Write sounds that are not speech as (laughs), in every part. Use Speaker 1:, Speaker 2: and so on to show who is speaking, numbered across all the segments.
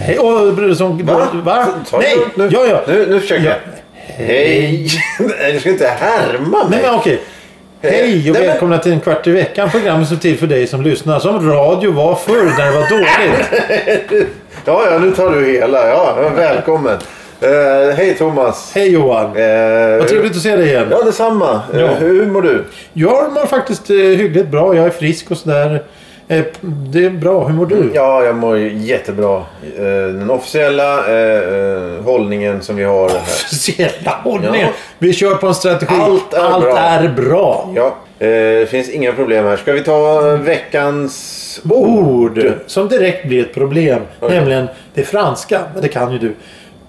Speaker 1: Hej! Åh, Brunsson...
Speaker 2: Va?
Speaker 1: Va?
Speaker 2: Ta-
Speaker 1: Nej!
Speaker 2: Nu,
Speaker 1: Ja, ja.
Speaker 2: nu, nu försöker
Speaker 1: Ja.
Speaker 2: jag. Hej! (laughs) Nej, du ska inte härma
Speaker 1: Nej,
Speaker 2: mig.
Speaker 1: men okej. Hej och
Speaker 2: Nej, men-
Speaker 1: välkomna till en kvart i veckan. Programmet som är till för dig som lyssnar. Som radio var förr när det var
Speaker 2: (laughs)
Speaker 1: dåligt.
Speaker 2: Ja, ja, nu tar du hela. Ja, men välkommen. Eh, hej Thomas.
Speaker 1: Hej Johan!
Speaker 2: Eh,
Speaker 1: Vad trevligt att se dig igen.
Speaker 2: Ja, detsamma.
Speaker 1: Ja.
Speaker 2: Eh, hur mår du?
Speaker 1: Jag mår faktiskt eh, hyggligt bra. Jag är frisk och sådär. Eh, Det är bra. Hur mår du? (laughs)
Speaker 2: Ja, jag mår jättebra. Eh, den officiella eh, eh, hållningen som vi har. Här.
Speaker 1: Officiella hållningen.
Speaker 2: Ja.
Speaker 1: Vi kör på en strategi.
Speaker 2: Allt är bra.
Speaker 1: är bra.
Speaker 2: Ja, eh, det finns inga problem här. Ska vi ta veckans
Speaker 1: Ord som direkt blir ett problem. Nämligen det franska. Men det kan ju du.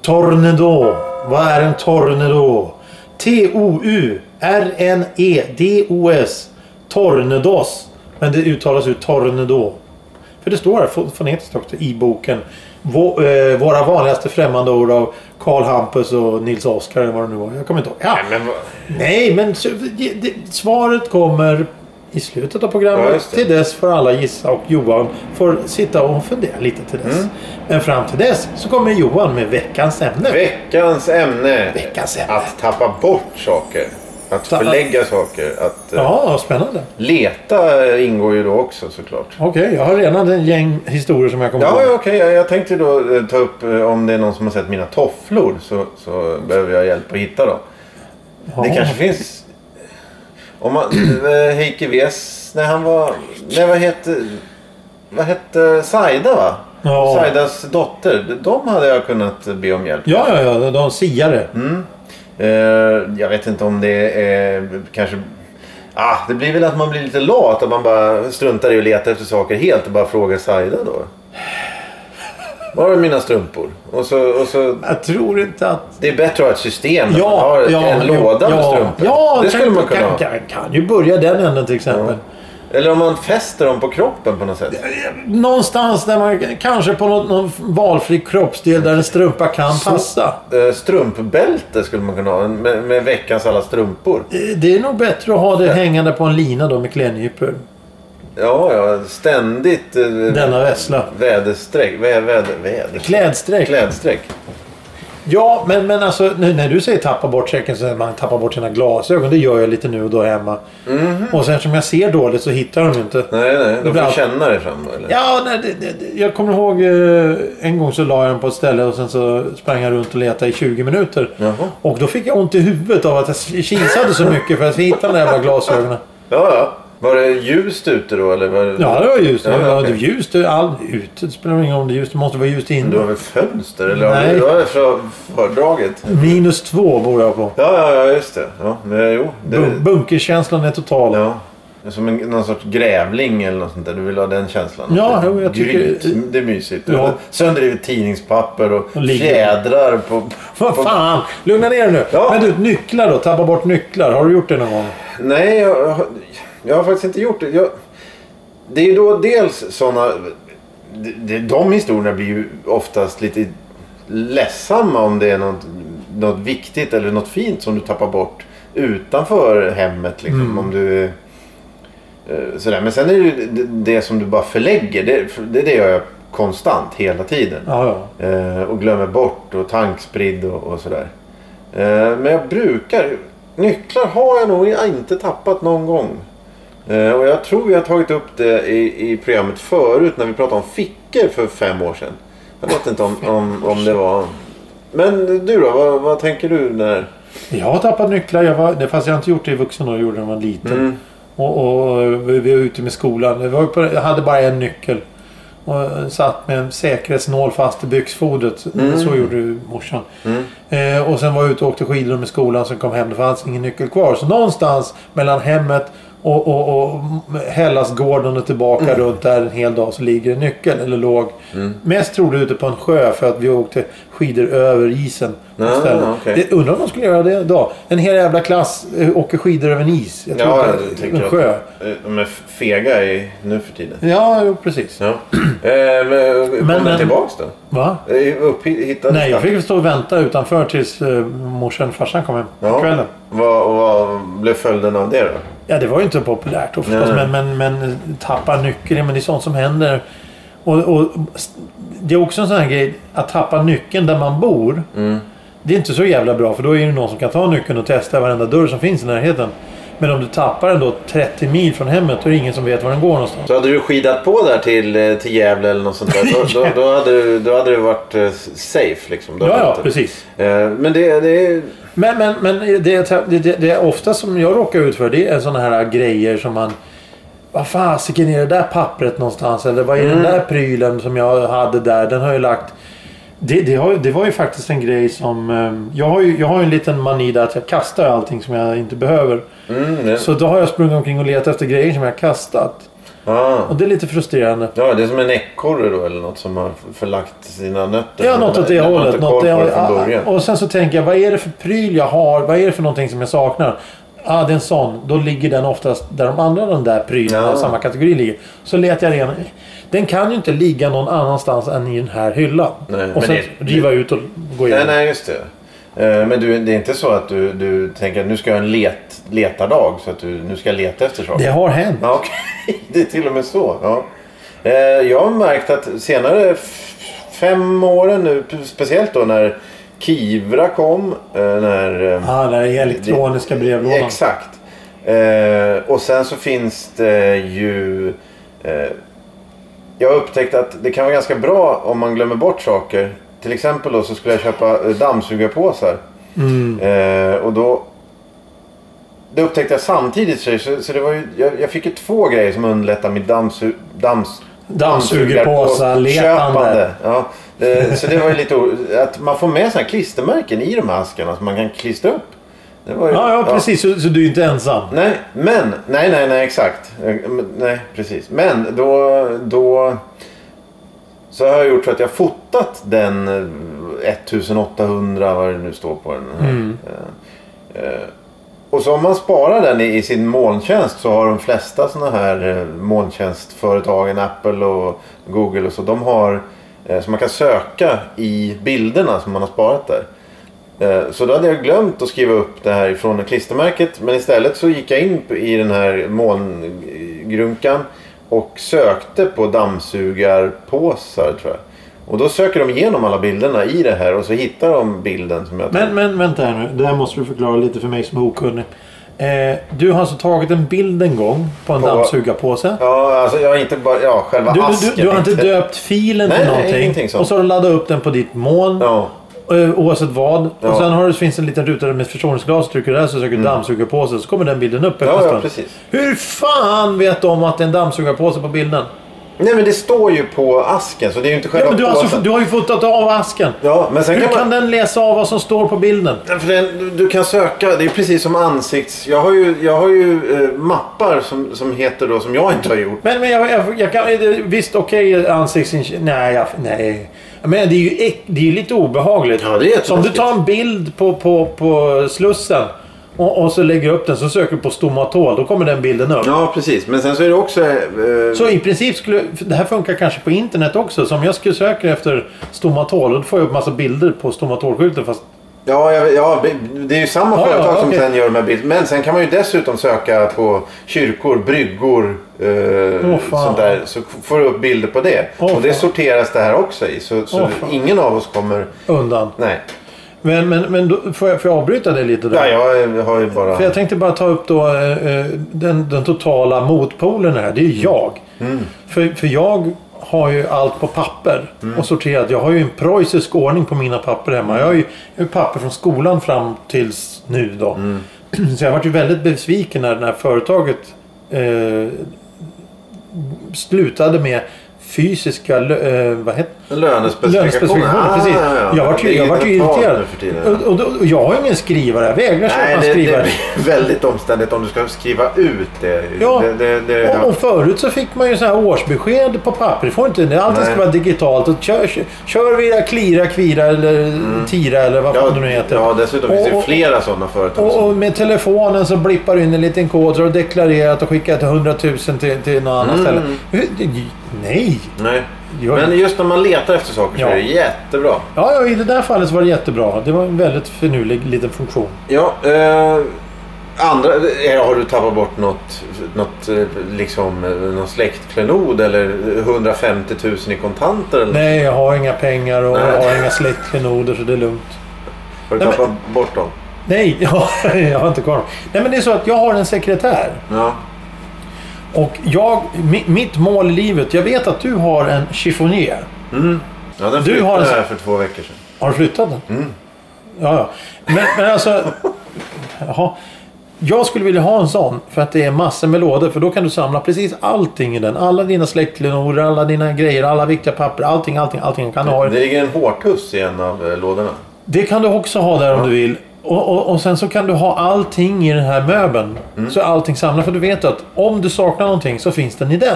Speaker 1: Tornado. Vad är en tornado? E T-O-U-R-N-E-D-O-S. Tornedos. Men det uttalas ju tornado. För det står här fo- fonetiskt också i boken. Vå, eh, våra vanligaste främmande ord av Karl Hampus och Nils Oskar eller vad det nu var. Jag kommer inte ihåg. Ja.
Speaker 2: Nej, men vad-
Speaker 1: Nej, men så- det, det, svaret kommer i slutet av
Speaker 2: Ja,
Speaker 1: programmet.
Speaker 2: just det.
Speaker 1: till dess får alla gissa och Johan får sitta och fundera lite till dess.
Speaker 2: Mm.
Speaker 1: Men fram till dess så kommer Johan med veckans ämne.
Speaker 2: Veckans ämne.
Speaker 1: Veckans ämne.
Speaker 2: Att tappa bort saker. Att
Speaker 1: Ta-
Speaker 2: förlägga saker. Att eh,
Speaker 1: Ja, spännande.
Speaker 2: leta ingår ju då också såklart.
Speaker 1: Okej, jag har redan en gäng historier som jag kommer
Speaker 2: Ja,
Speaker 1: ihåg.
Speaker 2: ja, okej. Jag- Jag tänkte då eh, ta upp eh, om det är någon som har sett mina tofflor så, så behöver jag hjälp att hitta dem.
Speaker 1: Ja.
Speaker 2: Det kanske finns... eh, Om man... eh, Heikki Wes, när han var... Nej, vad hette... Vad hette Saida va?
Speaker 1: Ja.
Speaker 2: Saidas dotter. De hade jag kunnat be om hjälp.
Speaker 1: Ja, ja, ja. De siare.
Speaker 2: Eh, jag vet inte om det är kanske... Ah, det blir väl att man blir lite lat. Att man bara struntar i att leta efter saker helt och bara frågar Saida då. Var är mina strumpor? Och så, och så,
Speaker 1: Jag tror inte att
Speaker 2: det är bättre att ha ett system. där man har en låda med strumpor.
Speaker 1: Ja,
Speaker 2: det skulle
Speaker 1: kan,
Speaker 2: man kunna
Speaker 1: kan,
Speaker 2: ha.
Speaker 1: kan, kan ju börja den änden till exempel.
Speaker 2: Eller om man fäster dem på kroppen på något sätt.
Speaker 1: Någonstans där man kanske på någon, någon valfri kroppsdel där en strumpa kan passa.
Speaker 2: Eh, Strumpbälte skulle man kunna ha. Med, med veckans alla strumpor.
Speaker 1: Eh, Det är nog bättre att ha det hängande på en lina då med klädnypor.
Speaker 2: Ja, ja. Ständigt eh,
Speaker 1: Denna vessla.
Speaker 2: väderstreck. Vä, väder, väder.
Speaker 1: Klädstreck.
Speaker 2: Klädstreck.
Speaker 1: Ja, men, men alltså nu, när du säger tappa bort säcken så är man tappar bort sina glasögon. Det gör jag lite nu och då hemma. Och sen som jag ser dåligt så hittar jag dem ju inte.
Speaker 2: Mhm. Nej, nej. Då får
Speaker 1: Ibland.
Speaker 2: du känna dig fram. Eller?
Speaker 1: Ja, nej, det, det, det- jag kommer ihåg eh, en gång så la jag den på ett ställe och sen så sprang jag runt och letade i 20 minuter.
Speaker 2: Jaha.
Speaker 1: Och då fick jag ont i huvudet av att jag kisade så mycket för att hitta de där jävla glasögonen.
Speaker 2: Ja, ja. Var det ljust ute då? Eller var det...
Speaker 1: Ja, det var ljust.
Speaker 2: Ja,
Speaker 1: det var
Speaker 2: okej.
Speaker 1: ljust det- all, ute. Det spelar ingen roll om det är ljust. Det måste vara ljust
Speaker 2: Du har
Speaker 1: inne.
Speaker 2: väl fönster? Eller
Speaker 1: Nej.
Speaker 2: nej. Du har väl för- fördraget?
Speaker 1: Minus två bor jag på.
Speaker 2: Ja, ja, ja, just det. Ja, men, jo. Det,
Speaker 1: Bun- bunkerkänslan är total.
Speaker 2: ja. Som en, någon sorts grävling eller något sånt där. Du vill ha den känslan?
Speaker 1: Ja,
Speaker 2: Att det-
Speaker 1: jo, jag tycker-
Speaker 2: Grymt. Det är mysigt.
Speaker 1: Ja.
Speaker 2: Ja. Söndrivet tidningspapper och,
Speaker 1: Och ligger-
Speaker 2: fjädrar på...
Speaker 1: Vad fan! Lugna ner dig nu.
Speaker 2: Ja.
Speaker 1: Men du, nycklar då? Tappa bort nycklar. Har du gjort det någon gång?
Speaker 2: Nej, jag, har- jag har faktiskt inte gjort det. Jag, det är ju då dels sådana... de- de- De historierna blir ju oftast lite ledsamma om det är något, något viktigt eller något fint som du tappar bort utanför hemmet. Liksom, om du, eh, sådär. Men sen är det ju det- det som du bara förlägger. Det, det, det gör jag konstant hela tiden.
Speaker 1: Ja, ja.
Speaker 2: Eh, och glömmer bort och tankspridd och, och sådär. Eh, men jag brukar... Nycklar har jag nog inte tappat någon gång. Eh, och jag tror jag har tagit upp det i, i programmet förut när vi pratade om fickor för fem år sedan. Jag vet inte om, om, om det var... Men du då, vad, vad tänker du när...
Speaker 1: Jag har tappat nycklar. Jag var, det, fast jag har inte gjort det i vuxen ålder. Jag gjorde det när jag var liten.
Speaker 2: Mm.
Speaker 1: Och, och vi vi var ute med skolan. Vi var på, jag hade bara en nyckel. Och satt med en säkerhetsnål fast i byxfodret.
Speaker 2: Mm.
Speaker 1: Så gjorde ju morsan. Eh, och sen var jag ute och åkte skidor med skolan. Sen kom hem. Det fanns ingen nyckel kvar. Så någonstans mellan hemmet och, och, och Hellasgården och tillbaka
Speaker 2: Mm.
Speaker 1: runt där en hel dag så ligger en nyckel. Eller låg. Mest troligt ute på en sjö för att vi åkte skidor över isen. på
Speaker 2: Ah,
Speaker 1: stället.
Speaker 2: okej.
Speaker 1: Det- Undrar om de skulle göra det idag. En hel jävla klass eh, åker skidor över en is. Jag tror
Speaker 2: Ja,
Speaker 1: inte-
Speaker 2: jag tänker
Speaker 1: en
Speaker 2: att-
Speaker 1: sjö.
Speaker 2: eh, De är fega i, nu för tiden.
Speaker 1: Ja, jo, precis.
Speaker 2: Ja. Eh, men, kom
Speaker 1: men-
Speaker 2: den tillbaks då?
Speaker 1: Va?
Speaker 2: Eh, Upp, hittade
Speaker 1: Nej, jag fick stå och vänta utanför tills eh, morsan och farsan kom hem på
Speaker 2: Ja.
Speaker 1: kvällen.
Speaker 2: Vad, vad blev följden av det då?
Speaker 1: Ja, det var ju inte populärt då förstås.
Speaker 2: Nej.
Speaker 1: eh, Men, men, men tappa nyckeln, men det är sånt som händer. Och, och det är också en sån här grej, att tappa nyckeln där man bor. Det är inte så jävla bra för då är det någon som kan ta nyckeln och testa varenda dörr som finns i närheten. Men om du tappar den då 30 mil från hemmet då är det ingen som vet var den går någonstans.
Speaker 2: Så hade du skidat på där till, eh, till Gävle eller något sånt där, då, då, då, hade, du- då hade du varit eh, safe liksom. Då
Speaker 1: Ja,
Speaker 2: hade
Speaker 1: ja,
Speaker 2: inte-
Speaker 1: precis.
Speaker 2: Eh, Men det, det är...
Speaker 1: Men, men, men det, det, det, det är ofta som jag råkar ut för det är såna här grejer som man... Vad fasiken är det där pappret någonstans? Eller vad är den där prylen som jag hade där? Den har jag lagt... Det, det, har, ju- det var ju faktiskt en grej som... eh, Jag har ju, jag har ju en liten mani där att jag kastar allting som jag inte behöver.
Speaker 2: Mm, det,
Speaker 1: Så då har jag sprungit omkring och letat efter grejer som jag kastat.
Speaker 2: ah.
Speaker 1: Och det är lite frustrerande.
Speaker 2: Ja, det är som en ekorre då eller något som har förlagt sina nötter.
Speaker 1: Ja, något åt det
Speaker 2: Man har inte
Speaker 1: hållet. Något
Speaker 2: koll
Speaker 1: det, ah,
Speaker 2: på det från
Speaker 1: ja,
Speaker 2: början.
Speaker 1: och sen så tänker jag, vad är det för pryl jag har? Vad är det för någonting som jag saknar? Ah, det är en sån. Då ligger den oftast där de andra de där prylarna
Speaker 2: Ja.
Speaker 1: i samma kategori ligger. Så letar jag igenom. Den kan ju inte ligga någon annanstans än i den här hyllan.
Speaker 2: Nej, men
Speaker 1: och sen
Speaker 2: det-
Speaker 1: riva ut och gå
Speaker 2: Nej,
Speaker 1: igenom.
Speaker 2: nej, just det. Eh, Men du, det är inte så att du, du tänker att nu ska jag ha en let, letardag så att du nu ska jag leta efter saker?
Speaker 1: Det har hänt.
Speaker 2: Ja, okej. (laughs) Det är till och med så. Ja. Eh, Jag har märkt att senare f- fem åren nu, speciellt då när Kivra kom, eh, när... eh,
Speaker 1: Ah, den här elektroniska brevlådan.
Speaker 2: Exakt. Eh, och sen så finns det ju... Eh, jag har upptäckt att det kan vara ganska bra om man glömmer bort saker. Till exempel då så skulle jag köpa eh, dammsugarpåsar.
Speaker 1: Mm.
Speaker 2: Eh, och då... Det upptäckte jag samtidigt. Så, så, så det var ju, jag, jag fick ju två grejer som underlättade mitt dammsu, dams,
Speaker 1: Dammsugarpåsar,
Speaker 2: köpande.
Speaker 1: letande.
Speaker 2: Ja, eh, så det var ju lite... o- Att man får med såna här klistermärken i de här askarna som man kan klistra upp. Det var ju,
Speaker 1: Ja, ja, precis. Så, så du är inte ensam.
Speaker 2: Nej, men... Nej, nej, nej, exakt. Eh, men- Nej, precis. Men då... då så har jag gjort så att jag har fotat den eh, 1800, vad det nu står på den. Här. Eh, eh, Och så om man sparar den i, i sin molntjänst så har de flesta sådana här eh, molntjänstföretagen, Apple och Google och så, de har eh, så man kan söka i bilderna som man har sparat där. Eh, Så då hade jag glömt att skriva upp det här ifrån klistermärket. Men istället så gick jag in på- i den här mångrunkan och sökte på dammsugarpåsar tror jag. Och då söker de igenom alla bilderna i det här och så hittar de bilden som jag tog.
Speaker 1: Men, men vänta här nu. Det här måste du förklara lite för mig som är okunnig. Eh, du har alltså tagit en bild en gång på en
Speaker 2: På-
Speaker 1: dammsugarpåse.
Speaker 2: Ja, alltså jag har inte bara... Ja, själva
Speaker 1: Du, du,
Speaker 2: asken.
Speaker 1: du, du har inte döpt filen
Speaker 2: Nej,
Speaker 1: till
Speaker 2: nej,
Speaker 1: någonting.
Speaker 2: ingenting sånt.
Speaker 1: och så har du laddat upp den på ditt moln.
Speaker 2: Ja.
Speaker 1: eh, Oavsett vad.
Speaker 2: Ja. Mm.
Speaker 1: Och sen har du, finns en liten ruta där med ett förstoringsglas. Trycker du där så söker du dammsugarpåse. Så kommer den bilden upp efter
Speaker 2: Ja,
Speaker 1: en
Speaker 2: ja,
Speaker 1: stund.
Speaker 2: precis.
Speaker 1: Hur fan vet de att det är en dammsugarpåse på bilden?
Speaker 2: Nej, men det står ju på asken så det är ju inte själva
Speaker 1: Ja, men du, har
Speaker 2: påsen.
Speaker 1: alltså, du har ju fotat av asken.
Speaker 2: Ja, men sen
Speaker 1: Hur
Speaker 2: kan man...
Speaker 1: kan den läsa av vad som står på bilden?
Speaker 2: Nej, För den, du- du kan söka, det är precis som ansikts... Jag har ju, jag har ju eh, mappar som, som heter då, som jag inte har gjort.
Speaker 1: Men, men jag, jag, jag kan... Visst, okej ansiktsinkörning... Nej, jag, nej. Men det är ju äck- det är ju lite obehagligt.
Speaker 2: Ja, det är jätteläskigt.
Speaker 1: Så om du tar en bild på, på, på Slussen och, och så lägger upp den så söker du på stomatol. Då kommer den bilden upp.
Speaker 2: Ja, precis. Men sen så är det också... Eh,
Speaker 1: Så i princip skulle... Det här funkar kanske på internet också. Så om jag skulle söka efter stomatol då får jag upp massa bilder på stomatolskylten fast...
Speaker 2: Ja, ja, ja, det är ju samma
Speaker 1: Ja, ja,
Speaker 2: företag som
Speaker 1: okej.
Speaker 2: sen gör de här bilderna. Men sen kan man ju dessutom söka på kyrkor, bryggor, eh,
Speaker 1: fan.
Speaker 2: sånt där. Så får du upp bilder på det.
Speaker 1: Åh,
Speaker 2: och det
Speaker 1: fan.
Speaker 2: sorteras det här också i. Så, så
Speaker 1: Åh, fan.
Speaker 2: ingen av oss kommer...
Speaker 1: Undan.
Speaker 2: Nej.
Speaker 1: Men, men, men då, får, jag, får jag avbryta det lite där?
Speaker 2: Ja, jag eh, har ju bara...
Speaker 1: För jag tänkte bara ta upp då eh, eh, den, den totala motpolen här. Det är ju jag.
Speaker 2: Mm.
Speaker 1: För, för jag har ju allt på papper
Speaker 2: Mm.
Speaker 1: och sorterat. Jag har ju en preussisk ordning på mina papper hemma. Jag har ju, jag har ju papper från skolan fram tills nu då.
Speaker 2: Mm.
Speaker 1: (clears throat) Så jag varit ju väldigt besviken när det här företaget eh, slutade med fysiska lö- eh, vad heter,
Speaker 2: Lönespecifikationer.
Speaker 1: Lönespecifikationer,
Speaker 2: Ah,
Speaker 1: precis.
Speaker 2: ja, ja.
Speaker 1: Jag vart ju,
Speaker 2: Det är
Speaker 1: jag vart ju
Speaker 2: digitalt
Speaker 1: irriterad. Äh,
Speaker 2: nu för tiden.
Speaker 1: Och, och, då- och jag har ju ingen skrivare. Jag vägrar köpa
Speaker 2: Nej,
Speaker 1: en
Speaker 2: det, det
Speaker 1: skrivare.
Speaker 2: blir väldigt omständigt om du ska skriva ut det.
Speaker 1: Ja,
Speaker 2: det, det, det
Speaker 1: och, och förut så fick man ju så här årsbesked på papper. Det får inte, det allting
Speaker 2: Nej.
Speaker 1: ska vara digitalt. Och kör, kör, kör via Klira, Kvira eller Tira eller vad
Speaker 2: Mm. ja,
Speaker 1: fan det nu heter.
Speaker 2: ja, dessutom finns det
Speaker 1: Och-
Speaker 2: ju
Speaker 1: och-
Speaker 2: flera sådana företag.
Speaker 1: Och,
Speaker 2: som-
Speaker 1: och med telefonen så blippar du in en liten kod så har du deklarerat och skickat 100 000 till, till något annat ställe.
Speaker 2: Mm.
Speaker 1: Hur- Nej!
Speaker 2: Nej.
Speaker 1: Gör-
Speaker 2: Men just när man letar efter saker
Speaker 1: Ja.
Speaker 2: så är det jättebra.
Speaker 1: Ja, ja, i det där fallet så var det jättebra. Det var en väldigt finurlig liten funktion.
Speaker 2: Ja, eh, Andra, är- har du tappat bort något, något eh, liksom, eh, någon släktklenod eller 150 000 i kontanter? Eller?
Speaker 1: Nej, jag har inga pengar och
Speaker 2: Nej.
Speaker 1: jag har inga släktklenoder så det är lugnt.
Speaker 2: Har du
Speaker 1: Nej,
Speaker 2: tappat bort dem?
Speaker 1: Nej, (laughs) jag, jag har inte kvar dem. Nej, men det är så att jag har en sekretär.
Speaker 2: Ja.
Speaker 1: Och jag, mi, mitt mål i livet, jag vet att du har en chiffonier.
Speaker 2: ja den
Speaker 1: Du
Speaker 2: du
Speaker 1: har
Speaker 2: har
Speaker 1: en sån-
Speaker 2: här för två veckor sedan.
Speaker 1: Har du flyttat den? Ja, ja. Men, men alltså... Jaha. Jag skulle vilja ha en sån för att det är massor med lådor. För då kan du samla precis allting i den. Alla dina släktlenoder, alla dina grejer, alla viktiga papper. Allting, allting, allting kan du ha. i
Speaker 2: Det ligger en hårtuss i en av eh, lådorna.
Speaker 1: Det kan du också ha där om du vill. Och, och, och sen så kan du ha allting i den här möbeln. Så är allting samlat. För du vet att om du saknar någonting så finns den i den.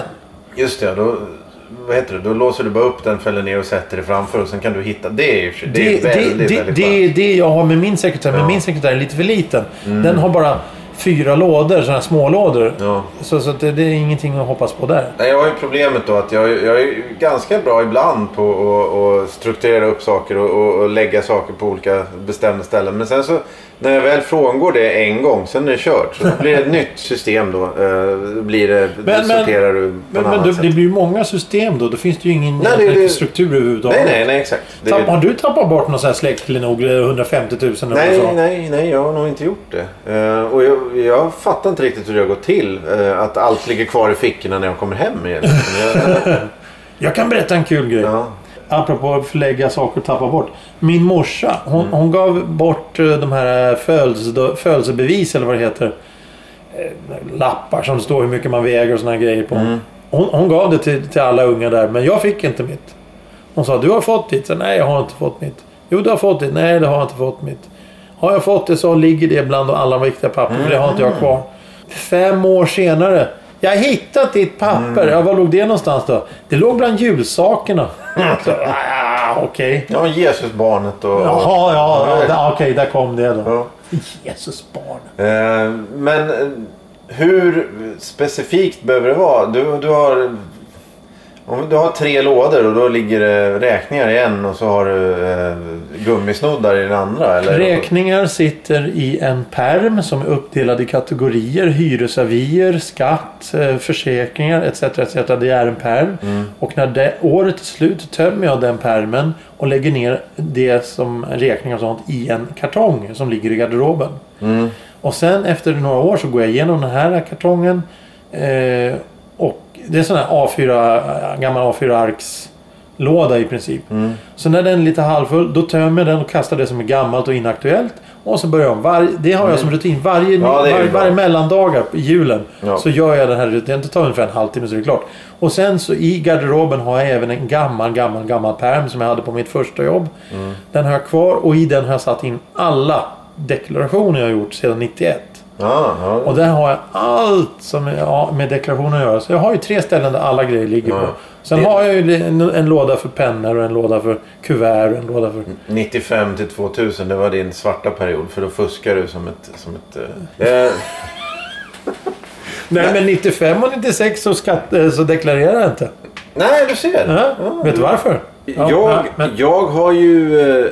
Speaker 2: Just det, ja, då, vad heter det? då låser du bara upp den, fäller ner och sätter det framför och sen kan du hitta. Det är, ju- det är
Speaker 1: Det, det, det,
Speaker 2: väldigt,
Speaker 1: det,
Speaker 2: väldigt skönt. Mm.
Speaker 1: är det jag har med min sekretär. Men min sekretär är lite för liten. Den har bara fyra lådor, sådana här smålådor.
Speaker 2: Ja.
Speaker 1: Så, så att det, det är ingenting att hoppas på där.
Speaker 2: Nej, jag har ju problemet då att jag, jag är ju ganska bra ibland på att att strukturera upp saker och, och, och lägga saker på olika bestämda ställen. Men sen så när jag väl frångår det en gång, sen är det kört. Så då blir det ett nytt system då. eh, då blir det,
Speaker 1: Men-
Speaker 2: du
Speaker 1: men-
Speaker 2: sorterar du på
Speaker 1: Men,
Speaker 2: en
Speaker 1: men
Speaker 2: annan
Speaker 1: det,
Speaker 2: sätt.
Speaker 1: det blir ju många system då. Då finns det ju ingen
Speaker 2: Nej, det-
Speaker 1: egentlig
Speaker 2: det-
Speaker 1: struktur
Speaker 2: Nej,
Speaker 1: överhuvudtaget.
Speaker 2: nej, nej exakt. Det,
Speaker 1: Tapp- Har du tappat bort någon sån här släktlinod, 150 000 eh, eller
Speaker 2: nej,
Speaker 1: så?
Speaker 2: nej, nej, jag har nog inte gjort det. Eh, och jag, jag fattar inte riktigt hur det har gått till. eh, att allt ligger kvar i fickorna när jag kommer
Speaker 1: (laughs)
Speaker 2: hem igen. Men jag,
Speaker 1: Jag kan berätta en kul grej.
Speaker 2: ja.
Speaker 1: Apropå att förlägga saker och tappa bort. Min morsa, hon, hon gav bort eh, de här födelse- födelsebevis eller vad det heter. Eh, Lappar som står hur mycket man väger och såna här grejer på. Hon, hon gav det till, till alla unga där, men jag fick inte mitt. Hon sa, du har fått ditt. Så, Nej, jag har inte fått mitt. Jo, du har fått ditt. Nej, det har jag inte fått mitt. Har jag fått det så ligger det bland alla viktiga papper, för det har inte jag kvar. Fem år senare. Jag har hittat ditt papper. Ja, var låg det någonstans då? Det låg bland julsakerna. Så, ah, Okej.
Speaker 2: ja, Jesusbarnet och...
Speaker 1: Jaha, ja. ja där- Okej, där kom det då.
Speaker 2: Ja.
Speaker 1: Jesus barn.
Speaker 2: Eh, men eh, hur specifikt behöver det vara? Du, du har... Om du har tre lådor och då ligger det räkningar i en och så har du eh, gummisnoddar i den andra. Eller
Speaker 1: Räkningar sitter i en perm som är uppdelad i kategorier. Hyresavier, skatt, eh, försäkringar etc. etc. Det är en perm. Och när det, året är slut tömmer jag den permen och lägger ner det som räkningar och sånt i en kartong som ligger i garderoben. Och sen efter några år så går jag igenom den här kartongen. Eh, och det är sån här A4, gammal A4-arks låda i princip.
Speaker 2: Mm.
Speaker 1: Så när den är lite halvfull, då tömmer jag den och kastar det som är gammalt och inaktuellt. Och så börjar jag om. Varje- det har jag som rutin. Varje,
Speaker 2: Mm. Ja, det är ju
Speaker 1: varje,
Speaker 2: bra.
Speaker 1: varje mellandagar i julen
Speaker 2: Ja.
Speaker 1: så gör jag den här rutinen. Det tar ungefär en halvtimme så är det klart. Och sen så i garderoben har jag även en gammal, gammal, gammal pärm som jag hade på mitt första jobb.
Speaker 2: Mm.
Speaker 1: Den har jag kvar och i den har jag satt in alla deklarationer jag har gjort sedan 91.
Speaker 2: Ja, ja.
Speaker 1: Och där har jag allt som är- ja, med deklarationen att göra. Så jag har ju tre ställen där alla grejer ligger på.
Speaker 2: Ja.
Speaker 1: Sen
Speaker 2: Det-
Speaker 1: har jag ju en, en låda för pennor och en låda för kuvert och en låda för...
Speaker 2: 95 till 2000, det var din svarta period. För då fuskar du som ett... Som ett eh, eh,
Speaker 1: Nej, men 95 och 96 så, skatt, eh, så deklarerar jag inte.
Speaker 2: nej, du ser.
Speaker 1: Ja, Vet du varför? Ja, ja,
Speaker 2: Jag,
Speaker 1: men-
Speaker 2: jag har ju eh,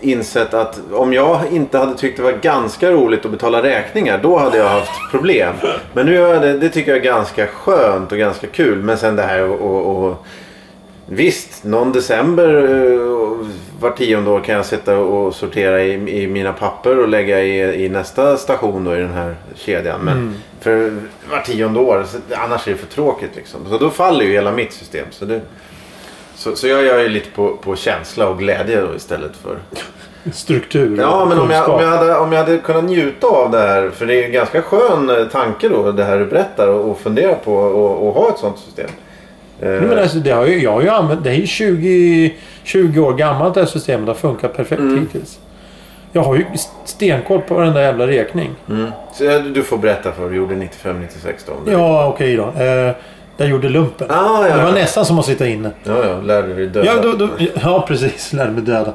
Speaker 2: insett att om jag inte hade tyckt det var ganska roligt att betala räkningar då hade jag haft problem. Men nu gör jag det, det tycker jag är ganska skönt och ganska kul. Men sen det här och, och, och Visst, någon december eh, och var tionde år kan jag sitta och sortera i, i mina papper och lägga i, i nästa station då i den här kedjan. Men
Speaker 1: Mm.
Speaker 2: för var tionde år, så, annars är det för tråkigt liksom. Så då faller ju hela mitt system. Så det, så, så jag gör ju lite på, på känsla och glädje då istället för...
Speaker 1: struktur och
Speaker 2: Ja, men om jag, om,
Speaker 1: kunskap.
Speaker 2: jag hade, om jag hade kunnat njuta av det här. För det är ju en ganska skön eh, tanke då, det här du berättar och, och fundera på och, och ha ett sånt system. Eh,
Speaker 1: Nej, men alltså, det, har ju, jag har ju använt, det är ju 20, 20 år gammalt det här systemet. Det har funkat perfekt
Speaker 2: Mm.
Speaker 1: hittills. Jag har ju stenkoll på varenda jävla räkning.
Speaker 2: mm. Så eh, du får berätta för vad du gjorde 95-96 då. Om det.
Speaker 1: Ja, okej då. Eh, jag gjorde lumpen.
Speaker 2: Ah, ja,
Speaker 1: Det var
Speaker 2: ja.
Speaker 1: nästan som att sitta inne.
Speaker 2: ja, ja. Lärde dig döda.
Speaker 1: Ja, då, då, ja precis. (laughs) Lärde mig döda.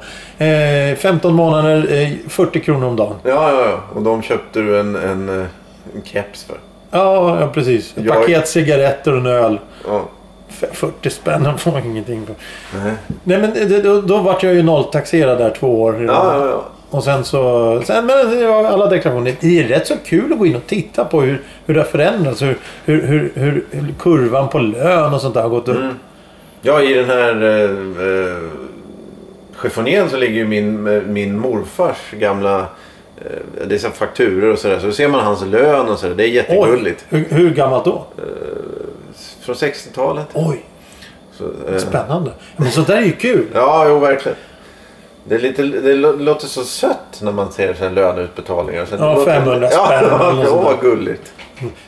Speaker 1: Eh, 15 månader, eh, 40 kronor om dagen.
Speaker 2: ja, ja, ja. Och de köpte du en, en, eh, en keps för.
Speaker 1: Ja, ja precis. Ett
Speaker 2: Jag-
Speaker 1: paket cigaretter och en öl.
Speaker 2: Ja.
Speaker 1: F- 40 spänn (laughs) de får man ingenting för. eh,
Speaker 2: Nej.
Speaker 1: Nej, men det, då, då vart jag ju nolltaxerad där två år. i
Speaker 2: Ja,
Speaker 1: rad.
Speaker 2: ja, ja.
Speaker 1: Och sen så... Sen, men det var alla deklarationer. Det är rätt så kul att gå in och titta på hur, hur det har förändrats. Hur, hur, hur, hur hur kurvan på lön och sånt där har gått upp.
Speaker 2: Mm, Ja, i den här eh, eh, chiffonjén så ligger ju min, eh, min morfars gamla... Eh, det är så här fakturor och sådär. Så ser man hans lön och sådär. Det är
Speaker 1: Oj!
Speaker 2: jättegulligt.
Speaker 1: Hur, hur gammalt då?
Speaker 2: Från 60-talet.
Speaker 1: Oj!
Speaker 2: Så, eh,
Speaker 1: Spännande. Men sånt där är ju kul.
Speaker 2: Ja, jo verkligen. Det, är lite, det lå- låter så sött när man ser sina löneutbetalningar. Så det
Speaker 1: Ja,
Speaker 2: låter-
Speaker 1: 500
Speaker 2: (laughs) ja,
Speaker 1: spänn eller
Speaker 2: Ja,
Speaker 1: något sånt
Speaker 2: vad gulligt.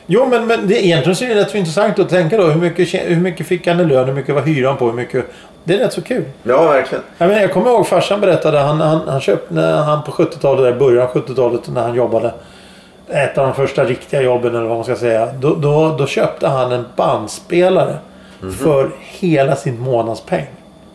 Speaker 1: Jo, men, men det, egentligen så är det rätt så intressant att tänka då. Hur mycket, tjä- hur mycket fick han i lön? Hur mycket var hyran på? Hur mycket... Det är rätt så kul.
Speaker 2: Ja, verkligen.
Speaker 1: Jag, menar, jag kommer ihåg farsan berättade. Han, han, han köpte när han på 70-talet, där i början av 70-talet när han jobbade. Ett av de första riktiga jobben eller vad man ska säga. Då, då, då köpte han en bandspelare.
Speaker 2: Mhm.
Speaker 1: För hela sin månadspeng.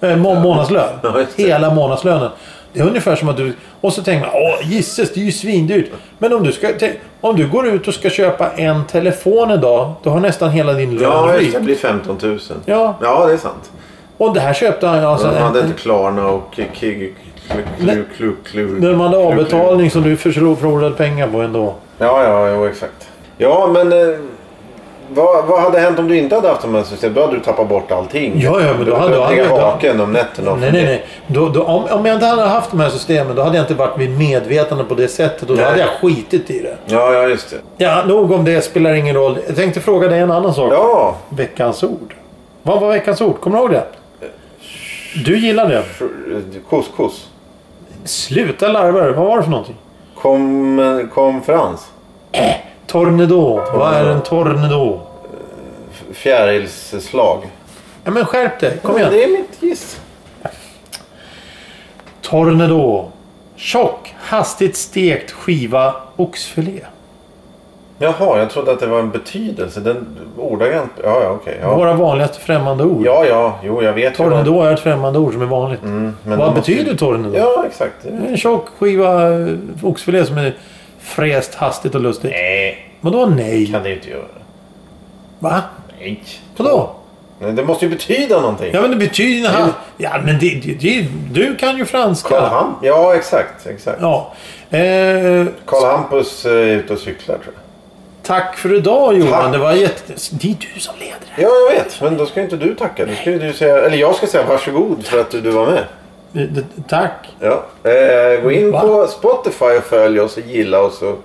Speaker 1: Äh, må, månadslön.
Speaker 2: Ja, just det.
Speaker 1: hela månadslönen. Det är ungefär som att du... Och så tänker man åh jisses det är ju svindyrt. Men om du, ska, te- om du går ut och ska köpa en telefon idag. Då har nästan hela din lön
Speaker 2: Ja, just
Speaker 1: rykt.
Speaker 2: det. Det blir 15 000.
Speaker 1: Ja.
Speaker 2: Ja, det är sant.
Speaker 1: Och det här köpte han alltså.
Speaker 2: De
Speaker 1: en-
Speaker 2: hade inte Klarna och Kig... Kig- Klu- Klu- Klu- Klu-
Speaker 1: När man hade
Speaker 2: Klu- Klu-
Speaker 1: avbetalning som du förslo- förlorade pengar på ändå.
Speaker 2: Ja, ja, jo, exakt. Ja, men eh, vad, vad hade hänt om du inte hade haft de här systemen? Då hade du tappat bort allting.
Speaker 1: Ja, ja, men då
Speaker 2: du
Speaker 1: hade-
Speaker 2: jag...
Speaker 1: hade
Speaker 2: legat
Speaker 1: jag-
Speaker 2: vaken om nätterna. och
Speaker 1: Nej, nej, nej. Då, då, om, om jag inte hade haft de här systemen då hade jag inte varit vid medvetande på det sättet och då
Speaker 2: Nej.
Speaker 1: hade jag skitit i det.
Speaker 2: Ja, ja, just det.
Speaker 1: Ja, nog om det spelar ingen roll. Jag tänkte fråga dig en annan sak.
Speaker 2: Ja,
Speaker 1: Veckans ord. Vad var veckans ord? Kommer du ihåg det? Du gillar det.
Speaker 2: fr- couscous.
Speaker 1: Sluta larva dig. Vad var det för någonting?
Speaker 2: Kom, konferens.
Speaker 1: Tornado. Vad är en tornado?
Speaker 2: Fjärilsslag.
Speaker 1: Ja, men skärp dig. Kom igen.
Speaker 2: Det är mitt giss.
Speaker 1: Tornado. Tjock, hastigt stekt skiva oxfilé.
Speaker 2: Jaha, jag trodde att det var en betydelse. Den ordagrant... Ja, ja, okej. Ja.
Speaker 1: Våra vanligaste främmande ord.
Speaker 2: ja, ja, jo, jag vet ju vad-
Speaker 1: Tornado är ett främmande ord som är vanligt.
Speaker 2: Mm, men
Speaker 1: Vad
Speaker 2: det måste-
Speaker 1: betyder tornado?
Speaker 2: Ja, exakt.
Speaker 1: En tjock skiva eh, oxfilé som är fräst hastigt och lustigt.
Speaker 2: Nej,
Speaker 1: Vadå nej?
Speaker 2: kan det ju inte göra.
Speaker 1: Va?
Speaker 2: Nej.
Speaker 1: Vadå?
Speaker 2: Nej, det måste ju betyda någonting.
Speaker 1: Ja men det betyder... Ha... Ja men det, det, det, du kan ju
Speaker 2: Karl
Speaker 1: franska.
Speaker 2: Ham- Ja, exakt. exakt.
Speaker 1: Ja. Eh,
Speaker 2: Karl Hampus eh, är ute och cyklar tror jag.
Speaker 1: tack för idag Johan.
Speaker 2: Tack.
Speaker 1: Det var jätte... Det är du som leder det.
Speaker 2: Ja, jag vet. Men då ska inte du tacka. Då ska ju du säga, eller jag ska säga varsågod för att du, du var med.
Speaker 1: Eh, det- Tack.
Speaker 2: Ja. Eh, gå in
Speaker 1: Va?
Speaker 2: på Spotify och följ oss och gilla oss. Och,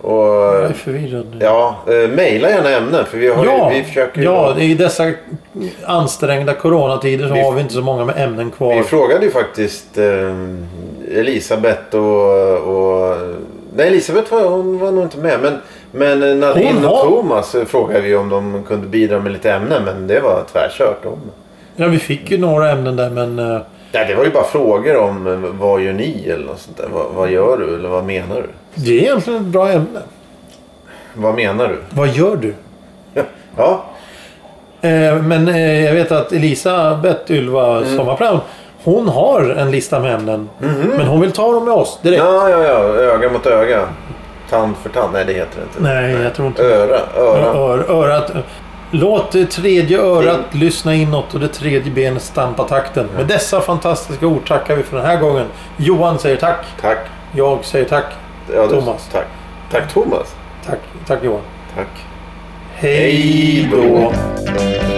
Speaker 2: och,
Speaker 1: Jag är förvirrad nu.
Speaker 2: ja, eh, mejla gärna ämnen för vi, har,
Speaker 1: Mm. Ja,
Speaker 2: ju- vi försöker ju-
Speaker 1: ja, i dessa ansträngda coronatider så har vi inte så många med ämnen kvar.
Speaker 2: Vi frågade ju faktiskt eh, Elisabeth och, och... Nej, Elisabeth var, hon var nog inte med. Men, men
Speaker 1: Hon
Speaker 2: Nadine och
Speaker 1: var-
Speaker 2: Thomas eh, frågade vi om de kunde bidra med lite ämnen. Men det var tvärkört. De...
Speaker 1: Ja, vi fick ju några ämnen där, men... eh,
Speaker 2: Nej, det var ju bara frågor om eh, vad gör ni eller något sånt där. Vad, vad gör du eller vad menar du?
Speaker 1: Det är egentligen ett bra ämne.
Speaker 2: Vad menar du?
Speaker 1: Vad gör du?
Speaker 2: Ja,
Speaker 1: Eh, men eh, jag vet att Elisabeth Ylva Sommarplan, hon har en lista med ämnen. Men hon vill ta dem med oss direkt.
Speaker 2: ja, ja, ja. öga mot öga. Tand för tand. Nej, det heter det inte.
Speaker 1: Nej, jag tror inte
Speaker 2: Öra, öra.
Speaker 1: Ör, örat. Låt det tredje örat lyssna inåt och det tredje benet stampa takten. Med dessa fantastiska ord tackar vi för den här gången. Johan säger tack.
Speaker 2: Tack.
Speaker 1: Jag säger tack.
Speaker 2: Ja, du-
Speaker 1: Thomas.
Speaker 2: Tack. Tack Thomas.
Speaker 1: Tack, tack Johan.
Speaker 2: Tack.
Speaker 1: Hej då!